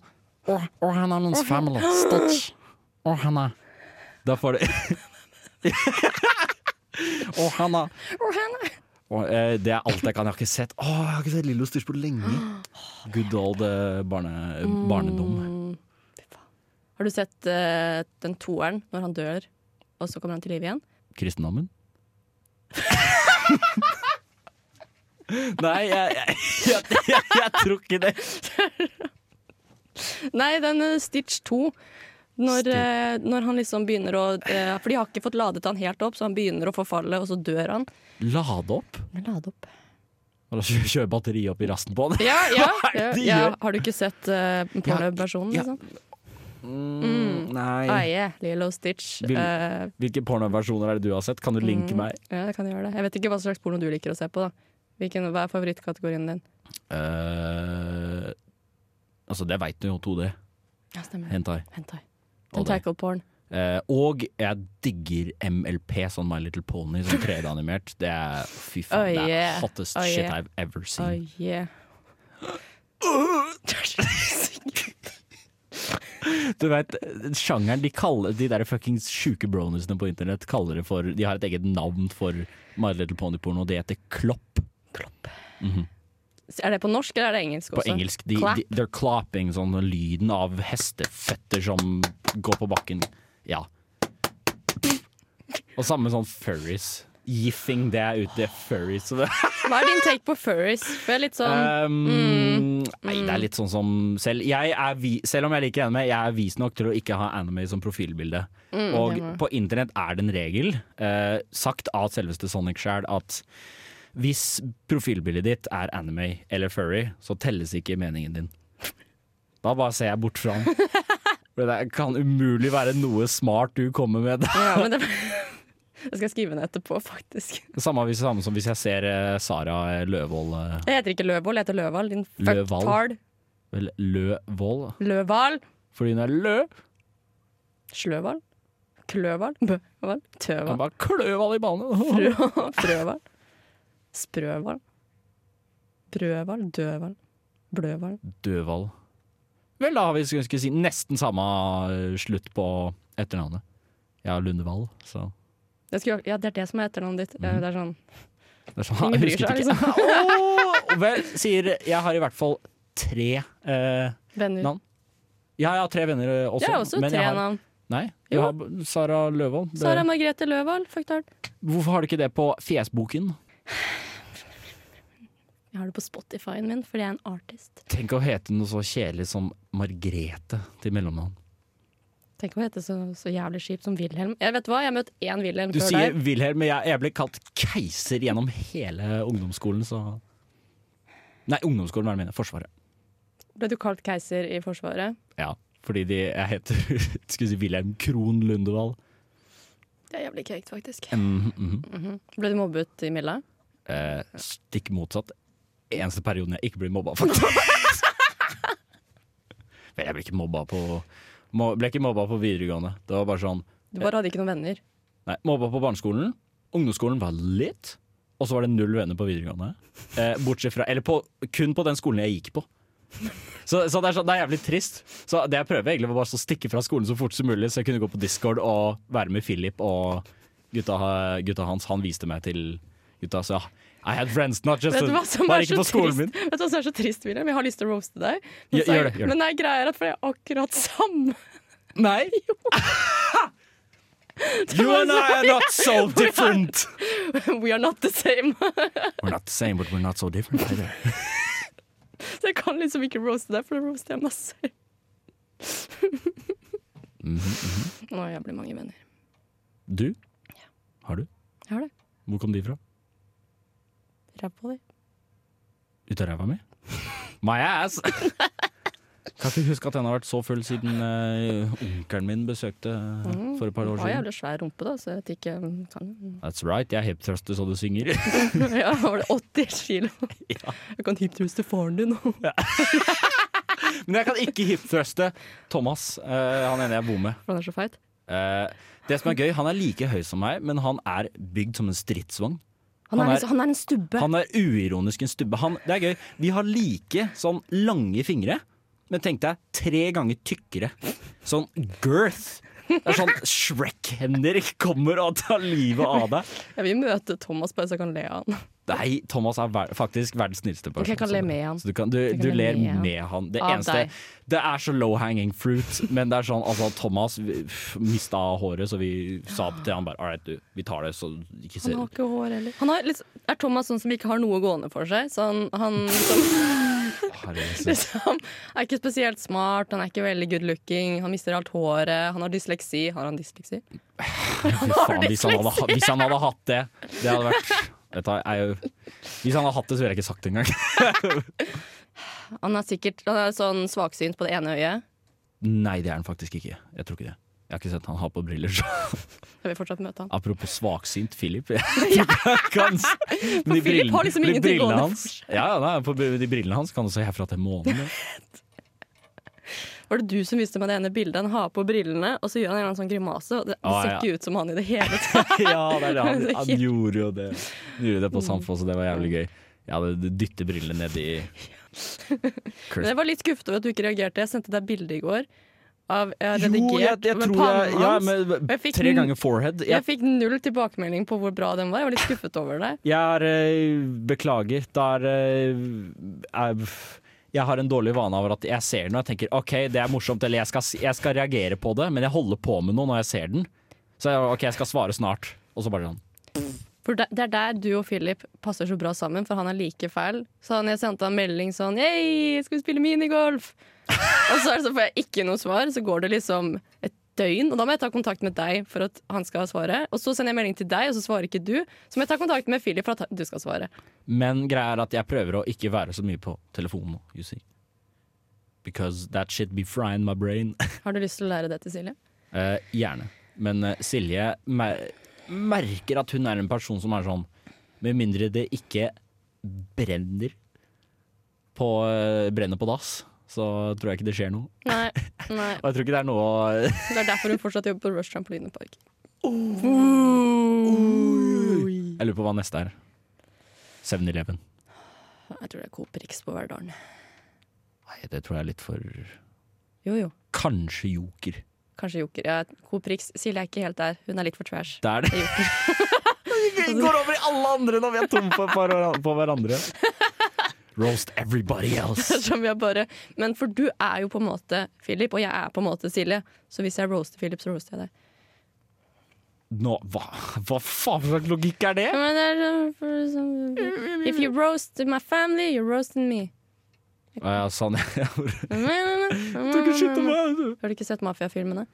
Speaker 2: Og, og han er min family. Stitch. Og han er Da får det Og han er
Speaker 3: Å, henne.
Speaker 2: og, eh, Det er alt jeg kan. Jeg har ikke sett Åh, jeg har ikke sett Lillo Stitch på lenge. Good old eh, barne, barnedom.
Speaker 3: Har du sett eh, den toeren når han dør, og så kommer han til live igjen?
Speaker 2: Kristendommen. Nei, jeg, jeg, jeg, jeg, jeg tror ikke det.
Speaker 3: Nei, den eh, Stitch 2. Når,
Speaker 2: Stitch.
Speaker 3: eh, når han liksom begynner å eh, For de har ikke fått ladet han helt opp, så han begynner å forfalle, og så dør han.
Speaker 2: Lade opp?
Speaker 3: Men lade opp.
Speaker 2: Eller kjø- kjøre batteriet opp i rasten på den?
Speaker 3: Ja, ja,
Speaker 2: Hva er
Speaker 3: ja,
Speaker 2: det de
Speaker 3: ja.
Speaker 2: gjør?
Speaker 3: Har du ikke sett uh, pornoversjonen,
Speaker 2: Ja, ja.
Speaker 3: liksom? Ah,
Speaker 2: Mm, Nei.
Speaker 3: yeah, Lilo Stitch.
Speaker 2: Vil-
Speaker 3: Eh,
Speaker 2: Hvilke pornoversjoner er det du har sett? Kan du linke meg?
Speaker 3: ja, jeg kan gjøre det. Jeg vet ikke hva slags porno du liker å se på, da. Hvilken, hva er favorittkategorien din?
Speaker 2: Eh, altså, det veit du jo, 2D.
Speaker 3: Ja, stemmer.
Speaker 2: Hentai.
Speaker 3: Hentai.
Speaker 2: Og det.
Speaker 3: Tentacle porn.
Speaker 2: Eh, og jeg digger MLP, sånn My Little Pony, sånn 3D-animert. Det er fy faen,
Speaker 3: Oh,
Speaker 2: det
Speaker 3: yeah.
Speaker 2: er hottest
Speaker 3: Oh,
Speaker 2: shit
Speaker 3: yeah.
Speaker 2: I've ever seen.
Speaker 3: Oi, Ah, yeah.
Speaker 2: Du vet, sjangeren de kaller De der fuckings sjuke bronisene på internett kaller det for De har et eget navn for My Little Pony-porno. Det heter klopp
Speaker 3: Er det på norsk eller er det engelsk
Speaker 2: på
Speaker 3: også?
Speaker 2: engelsk. De,
Speaker 3: Clap.
Speaker 2: de, they're clapping, sånn lyden av hesteføtter som går på bakken. Ja. Og samme sånn furries. Giffing, det er ute. Furries. Så det
Speaker 3: Hva er din take på furries? For jeg er litt sånn
Speaker 2: Eh. Um, Nei, det er litt sånn som selv, jeg er vi, selv om jeg liker anime, jeg er vis nok til å ikke ha anime som profilbilde. og på internett er det en regel, eh, sagt av selveste Sonic sjæl, at hvis profilbildet ditt er anime eller furry, så telles ikke meningen din. Da bare ser jeg bort fra den. For det kan umulig være noe smart du kommer med.
Speaker 3: ja, men det, Jeg skal skrive ned etterpå, faktisk.
Speaker 2: Samme, hvis, samme som hvis jeg ser eh, Sara Løvold eh,
Speaker 3: Jeg heter ikke Løvold, jeg heter Løvald. Din
Speaker 2: Løvald.
Speaker 3: fucktard.
Speaker 2: Vel, Løvold?
Speaker 3: Løvald.
Speaker 2: Fordi hun er lø.
Speaker 3: Sløvald. Kløvald. Bøvald.
Speaker 2: Han
Speaker 3: Tøvald.
Speaker 2: bare kløv alle i ballene.
Speaker 3: Frø- Frøvald. Sprøvald. Brøvald. Døvald. Bløvald.
Speaker 2: Døval. Vel, da har vi skulle skulle si nesten samme eh, slutt på etternavnet. Ja, Lundevall, så
Speaker 3: Jeg skulle, ja, det er det som er etternavnet ditt. Eh, Det er sånn
Speaker 2: det er sånn.
Speaker 3: Ingen
Speaker 2: Mhm.
Speaker 3: bryr
Speaker 2: Jeg husket
Speaker 3: seg, liksom.
Speaker 2: ikke. Åh, vel, sier Jeg har i hvert fall tre eh,
Speaker 3: venner.
Speaker 2: navn. Ja, jeg har tre venner eh, også.
Speaker 3: Jeg har også
Speaker 2: men
Speaker 3: tre
Speaker 2: jeg har,
Speaker 3: navn.
Speaker 2: Nei,
Speaker 3: Jo.
Speaker 2: jeg har b- Sara Løvold. Det-
Speaker 3: Sara Margrethe Løvald. Fucktard.
Speaker 2: Hvorfor har du ikke det på fjesboken?
Speaker 3: Jeg har det på Spotify-en min, fordi jeg er en artist.
Speaker 2: Tenk å hete noe så kjedelig som Margrete til mellomnavn.
Speaker 3: Tenk å hete så, så jævlig kjipt som Wilhelm. Jeg vet hva, jeg har møtt én Wilhelm
Speaker 2: Du
Speaker 3: før
Speaker 2: sier
Speaker 3: deg.
Speaker 2: Wilhelm, men jeg, jeg ble kalt keiser gjennom hele ungdomsskolen, så Nei, ungdomsskolen var det mine. Forsvaret.
Speaker 3: Ble du kalt keiser i Forsvaret?
Speaker 2: Ja, fordi de, jeg heter Skulle si Wilhelm Krohn Lundevall.
Speaker 3: Det er jævlig kjekt, faktisk.
Speaker 2: Mhm, mhm.
Speaker 3: Ble du mobbet i Milla?
Speaker 2: Eh, stikk motsatt. Eneste perioden jeg ikke ble mobba, faktisk. Men jeg ble ikke mobba på mo- Ble ikke mobba på videregående. Det var bare sånn
Speaker 3: Du bare hadde ikke noen venner.
Speaker 2: Nei, mobba på barneskolen. Ungdomsskolen var litt. Og så var det null venner på videregående. Eh, bortsett fra Eller på, kun på den skolen jeg gikk på. Så, så, det er, så det er jævlig trist. Så det jeg prøver egentlig var bare å stikke fra skolen så fort som mulig, så jeg kunne gå på Discord og være med Philip og gutta, gutta hans. Han viste meg til gutta, så ja. I had friends, not just
Speaker 3: Vet du hva som
Speaker 2: Bare
Speaker 3: er
Speaker 2: ikke
Speaker 3: så
Speaker 2: på skolen min.
Speaker 3: trist? Vet du hva som er så trist, Wilhelm? Jeg har lyst til å roaste deg, men,
Speaker 2: Ja,
Speaker 3: så-
Speaker 2: gjør det, gjør det.
Speaker 3: men jeg greier at for jeg er akkurat samme.
Speaker 2: Nei. you and I are not so different.
Speaker 3: We are not the same.
Speaker 2: We're not the same, but we're not so different either.
Speaker 3: Så jeg kan liksom ikke roaste deg, for da roaster jeg meg selv.
Speaker 2: Mhm,
Speaker 3: Nå har jeg blitt mange venner.
Speaker 2: Du? Har du?
Speaker 3: Jeg har det.
Speaker 2: Hvor kom de fra?
Speaker 3: Ræva di.
Speaker 2: Ut av ræva mi? My ass! Kan ikke huske at den har vært så full siden eh, onkelen min besøkte eh, for et par år
Speaker 3: Har
Speaker 2: siden.
Speaker 3: jævlig svær rumpe, da, så jeg vet ikke um, kan.
Speaker 2: That's right, jeg er hipthruster så du synger.
Speaker 3: Ja, var det 80 kilo? Jeg kan hiptruste faren din. For
Speaker 2: Men jeg kan ikke hipthruste Thomas, eh, han ene jeg bor med.
Speaker 3: han er så feit.
Speaker 2: Eh, det som er gøy, han er like høy som meg, men han er bygd som en stridsvogn.
Speaker 3: Han,
Speaker 2: Han
Speaker 3: er,
Speaker 2: er-
Speaker 3: liksom, han er en stubbe.
Speaker 2: Han er uironisk en stubbe. Han, det er gøy. Vi har like sånn lange fingre, men tenk deg tre ganger tykkere. Sånn girth. Det er sånn Shrek-hender kommer og tar livet av deg.
Speaker 3: Jeg vil møte Thomas bare så jeg kan le av han.
Speaker 2: Nei, Thomas er ver faktisk verdens snilleste person.
Speaker 3: Ok, jeg kan le med han.
Speaker 2: Så du, kan, du,
Speaker 3: kan
Speaker 2: du
Speaker 3: le
Speaker 2: ler
Speaker 3: med han.
Speaker 2: med han. Det
Speaker 3: Av
Speaker 2: eneste
Speaker 3: deg.
Speaker 2: Det er så low hanging fruit, men det er sånn altså, Thomas vi- pff, mista håret, så vi sa til han bare All right, du, vi tar det, så du ikke
Speaker 3: Han
Speaker 2: ser
Speaker 3: har ikke hår heller. Han har litt, er Thomas sånn som ikke har noe gående for seg? Så han, han som
Speaker 2: Herregud.
Speaker 3: liksom er ikke spesielt smart, han er ikke veldig good looking, han mister alt håret, han har dysleksi. Har han dysleksi?
Speaker 2: Fy faen, hvis han, hadde, ha- hvis han hadde hatt det Det hadde vært Dette er jo, Hvis han hadde hatt det, så ville jeg ikke sagt det engang.
Speaker 3: Han er sikkert han er sånn svaksynt på det ene øyet.
Speaker 2: Nei, det er han faktisk ikke. Jeg tror ikke det. Jeg har ikke sett han ha på briller. Så.
Speaker 3: Jeg vil fortsatt møte han.
Speaker 2: Apropos svaksynt Philip. Jeg kan- Men de
Speaker 3: Philip
Speaker 2: brillene-
Speaker 3: har liksom
Speaker 2: de
Speaker 3: ingenting
Speaker 2: brillene
Speaker 3: gående
Speaker 2: hans, ja, ja, nei, på De brillene hans kan du se herfra til månen.
Speaker 3: var det du som viste meg det ene bildet. Han har på brillene, og så gjør han en eller annen sånn grimase. Og det, det
Speaker 2: Ah,
Speaker 3: ser
Speaker 2: ja.
Speaker 3: ikke ut som han i det hele tatt.
Speaker 2: ja, det er det. Han,
Speaker 3: Det er Mm.
Speaker 2: han
Speaker 3: helt-
Speaker 2: gjorde jo det. Han gjorde det på Samfoss, og det var jævlig gøy. Jeg hadde dyttet brillene nedi
Speaker 3: Men jeg var litt skuffet over at du ikke reagerte. Jeg sendte deg bilde i går av jeg har redigert
Speaker 2: Jo, jeg, jeg
Speaker 3: med
Speaker 2: tror jeg,
Speaker 3: pannen
Speaker 2: ja,
Speaker 3: hans.
Speaker 2: men,
Speaker 3: jeg fikk
Speaker 2: Tre
Speaker 3: den-
Speaker 2: ganger forehead.
Speaker 3: Jeg
Speaker 2: Jeg,
Speaker 3: fikk null tilbakemelding på hvor bra den var. Jeg var litt skuffet over det.
Speaker 2: jeg er eh, Beklager. Det er eh, jeg, jeg har en dårlig vane over at jeg ser den og jeg tenker OK, det er morsomt, eller jeg skal, s- jeg skal reagere på det, men jeg holder på med noe når jeg ser den. Så jeg, OK, jeg skal svare snart. Og så bare sånn.
Speaker 3: For det, det er der du og Philip passer så bra sammen, for han er like fæl. Så han, jeg sendte han melding sånn Hei, skal vi spille minigolf? og så, er det så får jeg ikke noe svar. Så går det liksom et døgn, og da må jeg ta kontakt med deg for at han skal ha svaret. Og så sender jeg melding til deg, og så svarer ikke du. Så må jeg ta kontakt med Philip for at du skal svare.
Speaker 2: Men greia er at jeg prøver å ikke være så mye på telefonen nå, you see. Because that shit be frying my brain.
Speaker 3: Har du lyst til å lære det til Silje?
Speaker 2: Eh, gjerne. Men eh, Silje mer merker at hun er en person som er sånn Med mindre det ikke brenner på, eh, brenner på dass, så tror jeg ikke det skjer noe.
Speaker 3: Nei. nei.
Speaker 2: Og jeg tror ikke det er noe å
Speaker 3: Det er derfor hun fortsatt jobber på Rush Trampolinepark.
Speaker 2: Jeg lurer på hva neste er. 7-Eleven.
Speaker 3: Jeg tror det er Coop Rix på Verdalen.
Speaker 2: Nei, det tror jeg er litt for
Speaker 3: Jo jo,
Speaker 2: Kanskje Joker.
Speaker 3: kanskje Joker. Ja, Coop Rix. Silje er ikke helt der. Hun er litt for trash.
Speaker 2: Det er det. Vi går over i alle andre når vi er tomme på, på- på hverandre. Roast everybody else.
Speaker 3: Som jeg bare Men for du er jo på en måte Philip, og jeg er på en måte Silje. Så hvis jeg roaster Philip, så roaster jeg deg.
Speaker 2: Nå, hva, hva faen slags logikk er det?
Speaker 3: Men det er sånn- for sånn- If you roast my family, you're roasting me.
Speaker 2: Å ja, sånn. Jeg gjorde- Du kan skyte
Speaker 3: Har
Speaker 2: meg! du.
Speaker 3: du ikke sett mafiafilmene?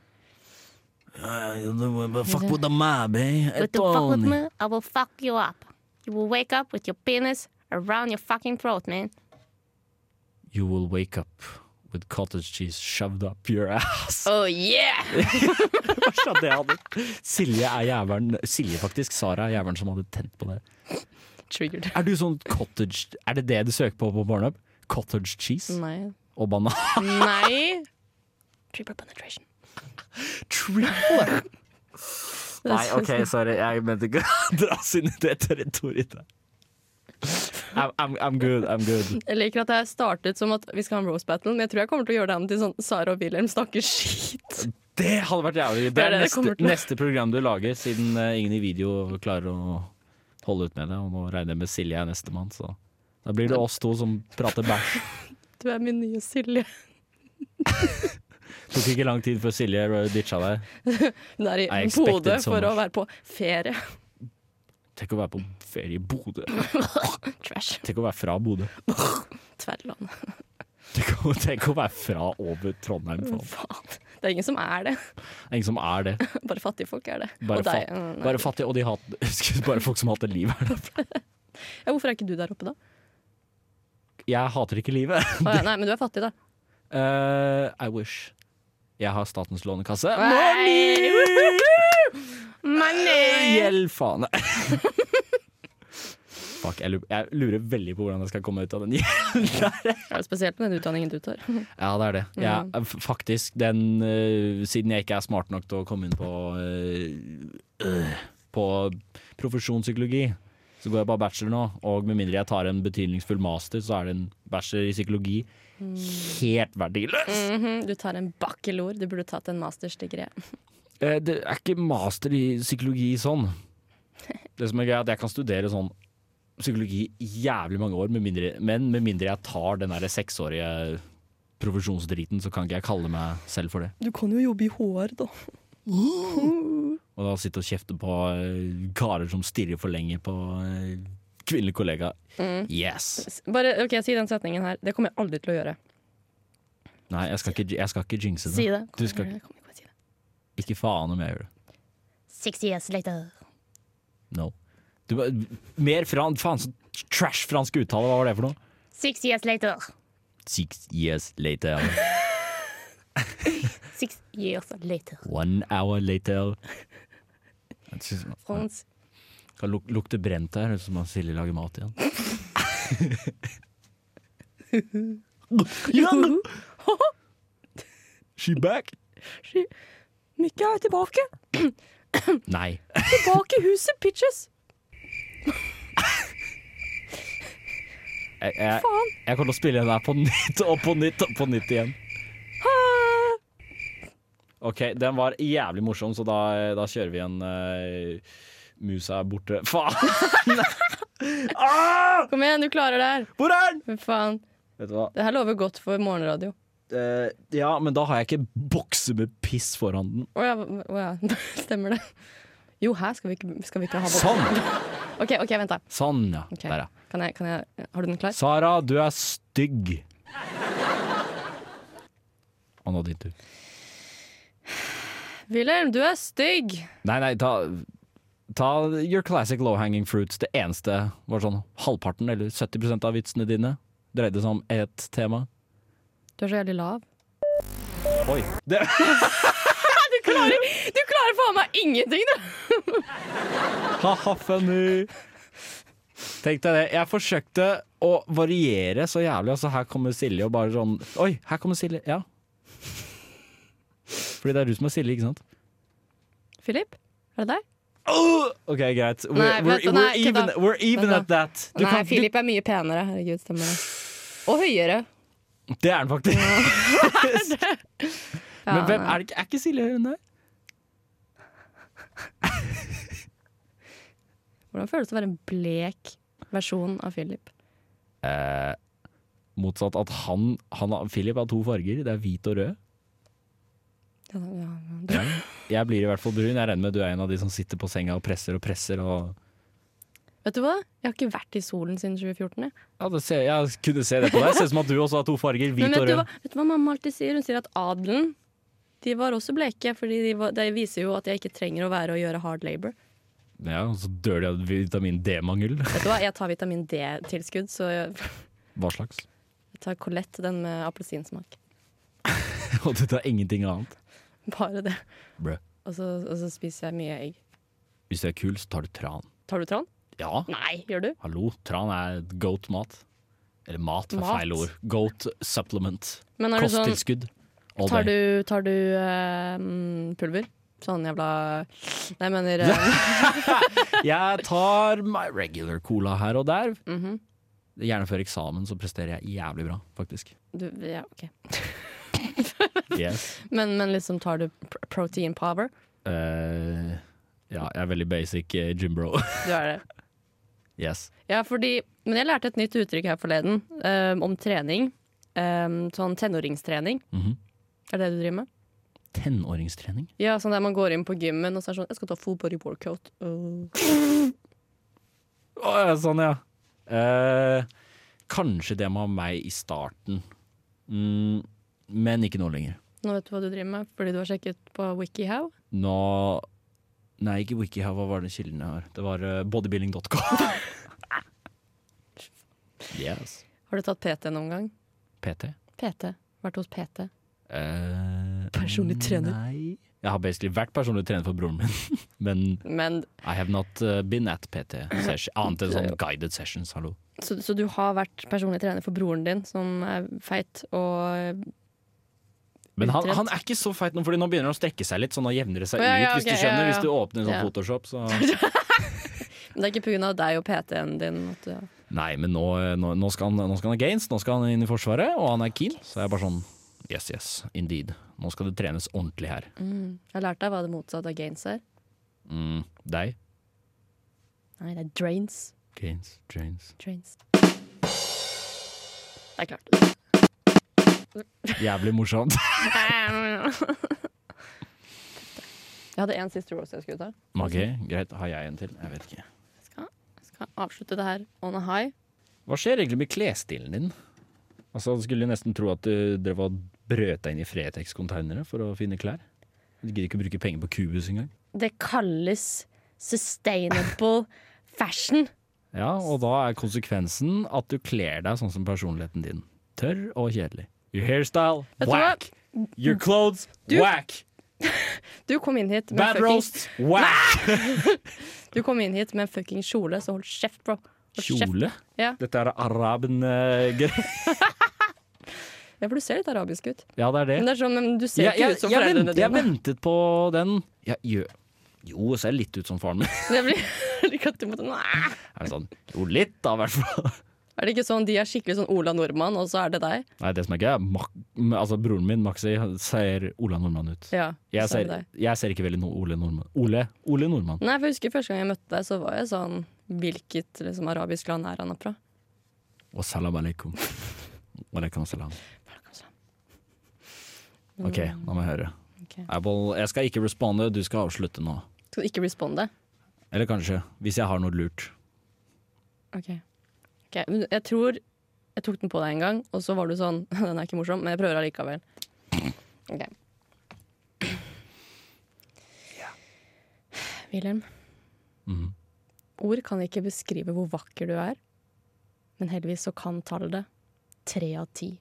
Speaker 2: Fuck with the mab, eh?
Speaker 5: With the fuck with me, I will fuck you up. You will wake up with your penis around your fucking throat, man.
Speaker 2: You will wake up with cottage cheese shoved up your ass.
Speaker 3: Oh yeah!
Speaker 2: Hva sa det han? Silje er jævelen Silje, faktisk. Sara er jævelen som hadde tent på det.
Speaker 3: Triggered.
Speaker 2: Er du sånn cottage Er det det du søker på på Pornhub? Cottage cheese
Speaker 3: Nei.
Speaker 2: og banan?
Speaker 3: Nei. Triple penetration.
Speaker 2: Triple!
Speaker 3: Det er
Speaker 2: Nei,
Speaker 3: så-
Speaker 2: OK, sorry. Jeg mente ikke å dras inn i det territoriet der. I'm, I'm, I'm good, I'm good.
Speaker 3: Jeg liker at det her startet som at vi skal ha en roast battle, men jeg tror jeg kommer til å gjøre det an til sånn Sara og Wilhelm snakker skit.
Speaker 2: Det hadde vært jævlig. Det
Speaker 3: Det er
Speaker 2: er
Speaker 3: det det
Speaker 2: neste,
Speaker 3: kommer til.
Speaker 2: neste program du lager, siden eh, ingen i video klarer å holde ut med det. Og nå regner jeg med Silje er nestemann, så da blir det oss to som prater bæsj.
Speaker 3: Du er min nye Silje.
Speaker 2: Tok ikke lang tid før Silje ditcha deg.
Speaker 3: Hun er
Speaker 2: I
Speaker 3: i
Speaker 2: expected
Speaker 3: Bodø
Speaker 2: so
Speaker 3: for å
Speaker 2: much.
Speaker 3: være på ferie.
Speaker 2: Tenk å være på ferie i Bodø.
Speaker 3: Trash.
Speaker 2: Tenk å være fra Bodø.
Speaker 3: Tverrland.
Speaker 2: Tenk å, tenk å være fra over Trondheim. faen.
Speaker 3: Faen. Det er ingen som er det.
Speaker 2: Det er Ingen som er det.
Speaker 3: Bare fattige folk er det.
Speaker 2: Bare,
Speaker 3: Og deg.
Speaker 2: fat,
Speaker 3: Mm, nei.
Speaker 2: bare fattige, og de hat, bare folk som hater livet. er det.
Speaker 3: Ja, hvorfor er ikke du der oppe, da?
Speaker 2: Jeg hater ikke livet.
Speaker 3: Å, ja, nei, men du er fattig, da.
Speaker 2: Eh, I wish. Jeg har Statens lånekasse.
Speaker 3: Money!
Speaker 2: Gjeld, faen! Fuck, jeg lurer, jeg lurer veldig på hvordan jeg skal komme ut av den gjelden der.
Speaker 3: Det er jo spesielt med den utdanningen du tar.
Speaker 2: Ja, det er det. Jeg, f- faktisk, den eh, Siden jeg ikke er smart nok til å komme inn på eh, øh, På profesjonspsykologi, så går jeg bare bachelor nå. Og med mindre jeg tar en betydningsfull master, så er det en bachelor i psykologi helt verdiløs.
Speaker 3: Mhm, Du tar en bakkelor. Du burde tatt en mastersdegré.
Speaker 2: Eh, Det er ikke master i psykologi sånn. Det som er greia er at jeg kan studere sånn psykologi i jævlig mange år, med mindre, men med mindre jeg tar den der seksårige profesjonsdriten, så kan ikke jeg kalle meg selv for det.
Speaker 3: Du kan jo jobbe i HR, da.
Speaker 2: Og da sitte og kjefte på eh, karer som stirrer for lenge på eh, kvinnelige kollegaer. Yes!
Speaker 3: Bare, ok, Si den setningen her. Det kommer jeg aldri til å gjøre.
Speaker 2: Nei, jeg skal ikke, jeg skal ikke jinxe
Speaker 5: See
Speaker 2: det.
Speaker 5: that?
Speaker 2: Du skal
Speaker 3: Jeg kommer ikke til å si det.
Speaker 2: ikke faen om jeg gjør det.
Speaker 5: Six years later.
Speaker 2: No. Du, bare- mer fran, faen så trash fransk uttale, hva var det for noe?
Speaker 5: Six years later.
Speaker 2: Six years later.
Speaker 5: Six years later.
Speaker 2: One hour later. Jeg synes-
Speaker 3: Frans.
Speaker 2: Kan luk lukte brent her, så må Silje lage mat igjen. She back?
Speaker 3: Mikke er tilbake!
Speaker 2: Nei.
Speaker 3: Tilbake i huset, bitches!
Speaker 2: Jeg, jeg,
Speaker 3: Faen.
Speaker 2: jeg kommer til å spille den her på nytt og på nytt og på nytt igjen. OK, den var jævlig morsom, så da, da kjører vi en uh, Musa er borte. Faen! ah,
Speaker 3: Kom igjen, du klarer det her!
Speaker 2: hvor er den?
Speaker 3: Men faen,
Speaker 2: Vet du hva?
Speaker 3: det her lover godt for morgenradio.
Speaker 2: Eh, ja, men da har jeg ikke bokse med piss foran den.
Speaker 3: Å ja, å ja. stemmer det? Jo, her skal vi ikke, skal vi ikke ha
Speaker 2: Sånn!
Speaker 3: OK, ok, vent, da.
Speaker 2: Sånn, ja.
Speaker 3: Ok.
Speaker 2: Der, ja.
Speaker 3: Kan jeg, kan jeg, har du den klar?
Speaker 2: Sara, du er stygg. Og nå din tur.
Speaker 3: Wilhelm, du er stygg!
Speaker 2: Nei, nei, ta, ta your classic low hanging fruits. Det eneste var sånn halvparten eller 70 av vitsene dine dreide seg om ett tema.
Speaker 3: Du er så jævlig lav.
Speaker 2: Oi. Det,
Speaker 3: Du klarer, du klarer faen meg ingenting, du!
Speaker 2: haha, funny. Tenk deg det. Jeg forsøkte å variere så jævlig, og så her kommer Silje og bare sånn Oi, her kommer Silje. Ja. Fordi det er du som er Silje, ikke sant?
Speaker 3: Philip, er det deg?
Speaker 2: Åh! OK, greit. We're,
Speaker 3: Nei,
Speaker 2: we're,
Speaker 3: vent da,
Speaker 2: we're
Speaker 3: nei,
Speaker 2: even,
Speaker 3: kødda.
Speaker 2: we're even
Speaker 3: Vent
Speaker 2: at that. Du
Speaker 3: Nei,
Speaker 2: kan- du-
Speaker 3: Philip er mye penere. Herregud, stemmer det. Og høyere.
Speaker 2: Det er den faktisk.
Speaker 3: Ja,
Speaker 2: Men hvem
Speaker 3: nei.
Speaker 2: er, det ikke- er ikke Silje hun der?
Speaker 3: Hvordan føles det å være en blek versjon av Philip?
Speaker 2: eh, motsatt at han, han har- Philip har to farger, det er hvit og rød.
Speaker 3: Ja, ja, ja. Du,
Speaker 2: Jeg blir i hvert fall brun. Jeg regner med du er en av de som sitter på senga og presser og presser. Og
Speaker 3: vet du hva? Jeg har ikke vært i solen siden 2014. Jeg.
Speaker 2: ja, det ser, jeg kunne se det på deg. Ser ut som at du også har to farger, hvit
Speaker 3: Men
Speaker 2: og
Speaker 3: vet du, hva,
Speaker 2: rød.
Speaker 3: vet du hva mamma alltid sier? Hun sier at adelen de var også bleke, for de var- det viser jo at jeg ikke trenger å være og gjøre hard labor.
Speaker 2: Ja, og så dør de av vitamin D-mangel.
Speaker 3: Vet du hva, Jeg tar vitamin D-tilskudd, så jeg,
Speaker 2: Hva slags?
Speaker 3: jeg tar Colette, den med appelsinsmak.
Speaker 2: Og du tar ingenting annet.
Speaker 3: Bare det.
Speaker 2: Brø.
Speaker 3: Og så, og så spiser jeg mye egg.
Speaker 2: Hvis du er kul, så tar du tran.
Speaker 3: Tar du tran?
Speaker 2: Ja,
Speaker 3: Nei, gjør du?
Speaker 2: hallo, tran er goat-mat. Eller mat, er
Speaker 3: Mat?
Speaker 2: feil ord. Goat supplement.
Speaker 3: Men er du sånn
Speaker 2: Kosttilskudd. All
Speaker 3: Tar
Speaker 2: day.
Speaker 3: du, tar du eh, mm, pulver? Sånn jævla Nei, jeg mener eh,
Speaker 2: Jeg tar my regular cola her og der.
Speaker 3: Mhm.
Speaker 2: Gjerne før eksamen så presterer jeg jævlig bra, faktisk.
Speaker 3: du, ja, ok.
Speaker 2: Yes.
Speaker 3: men, men liksom, tar du pr- protein power?
Speaker 2: Eh, ja, jeg er veldig basic eh, gym bro.
Speaker 3: Du er det.
Speaker 2: yes.
Speaker 3: Ja, fordi Men jeg lærte et nytt uttrykk her forleden, eh, om trening. Eh, sånn tenåringstrening.
Speaker 2: Mhm.
Speaker 3: Er det det du driver med?
Speaker 2: Tenåringstrening.
Speaker 3: Ja, sånn der man går inn på gymmen og så er det sånn 'Jeg skal ta full body workout'. Uh.
Speaker 2: Å, ja, sånn, ja. Eh, kanskje det med meg i starten. Mm, men ikke nå lenger.
Speaker 3: Nå vet du hva du driver med, fordi du har sjekket på WikiHow.
Speaker 2: Nå Nei, ikke WikiHow, hva var det kilden jeg har? Det var eh, bodybuilding.com. yes.
Speaker 3: Har du tatt PT noen gang?
Speaker 2: PT.
Speaker 3: PT. Vært hos PT.
Speaker 2: Eh,
Speaker 3: Personlig trener.
Speaker 2: Nei. Jeg har basically vært personlig trener for broren min. Men
Speaker 3: Men
Speaker 2: I have not uh, been at PT. session. Annet enn sånn guided sessions, hallo.
Speaker 3: Så, så du har vært personlig trener for broren din, som er feit og
Speaker 2: Men han,
Speaker 3: Utrett.
Speaker 2: han er ikke så feit nå, Fordi nå begynner han å strekke seg litt. Så nå jevner det seg
Speaker 3: Å, ja,
Speaker 2: ut,
Speaker 3: ja,
Speaker 2: hvis du
Speaker 3: ok,
Speaker 2: skjønner.
Speaker 3: ja, ja.
Speaker 2: Hvis du åpner sånn
Speaker 3: Ja.
Speaker 2: Photoshop, så
Speaker 3: Men det er ikke pga. deg og PT-en din at du
Speaker 2: Nei, men nå, eh, nå, nå, skal han, nå skal han ha gains, nå skal han inn i Forsvaret, og han er keen. Så jeg er bare sånn yes, yes, indeed. Nå skal det trenes ordentlig her.
Speaker 3: Jeg har lært deg hva det motsatte av gains er.
Speaker 2: Mm, deg?
Speaker 3: Nei, det er drains.
Speaker 2: Gains, drains.
Speaker 3: Drains. Det er klart.
Speaker 2: Jævlig morsomt.
Speaker 3: Jeg hadde én siste roast jeg skulle ta.
Speaker 2: OK, greit. Har jeg en til? Jeg vet ikke.
Speaker 3: Jeg skal avslutte det her on a high.
Speaker 2: Hva skjer egentlig med klesstilen din? Altså, Du skulle jo nesten tro at eh, du drev og brøt deg inn i Fretex-konteinere for å finne klær. Du gidder ikke å bruke penger på Cubus engang.
Speaker 3: Det kalles sustainable fashion.
Speaker 2: Ja, og da er konsekvensen at du kler deg sånn som personligheten din. Tørr og kjedelig. Your hairstyle,
Speaker 3: Vet du
Speaker 2: whack. Your clothes, whack.
Speaker 3: Du kom inn hit med
Speaker 2: Bad
Speaker 3: en fucking,
Speaker 2: roast, whack.
Speaker 3: du kom inn hit med en fucking kjole, så hold kjeft, bro. Hold kjeft.
Speaker 2: Kjole?
Speaker 3: Ja.
Speaker 2: Dette er araben-greier.
Speaker 3: Ja, for du ser litt arabisk ut.
Speaker 2: Ja, det er det.
Speaker 3: Men det er sånn, men du ser
Speaker 2: Jeg,
Speaker 3: ikke
Speaker 2: jeg,
Speaker 3: ut som
Speaker 2: jeg,
Speaker 3: foreldrene
Speaker 2: vent, jeg
Speaker 3: dine.
Speaker 2: ventet på den. Jeg, jo, jo, ser litt ut som faren min.
Speaker 3: Det blir, jeg liker at du måtte, Nei.
Speaker 2: Er det sånn? Jo, litt da, i hvert fall.
Speaker 3: er det ikke sånn de er skikkelig sånn Ola Nordmann, og så er det deg?
Speaker 2: Nei, det som er gøy, er Mak altså, broren min, Maxi, han ser Ola Nordmann ut.
Speaker 3: Ja,
Speaker 2: Jeg
Speaker 3: så er det
Speaker 2: ser,
Speaker 3: deg.
Speaker 2: jeg ser ikke veldig no Ole Nordmann. Ole, Ole Nordmann.
Speaker 3: Nei, for jeg husker Første gang jeg møtte deg, så var jeg sånn Hvilket liksom, arabisk land er han fra?
Speaker 2: Wassalam alaikum. Walaikum salam. OK, nå må jeg høre.
Speaker 3: Ok.
Speaker 2: Apple, jeg skal ikke responde, du skal avslutte nå.
Speaker 3: Skal du ikke responde?
Speaker 2: Eller kanskje, hvis jeg har noe lurt.
Speaker 3: Ok. Ok, men Jeg tror jeg tok den på deg en gang, og så var du sånn Den er ikke morsom, men jeg prøver allikevel. Ok. Wilhelm.
Speaker 2: Mhm.
Speaker 3: Ord kan ikke beskrive hvor vakker du er, men heldigvis så kan tall det. Tre av ti.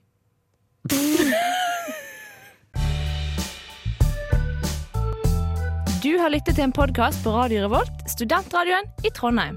Speaker 6: Du har lyttet til en podkast på Radio Revolt, studentradioen i Trondheim.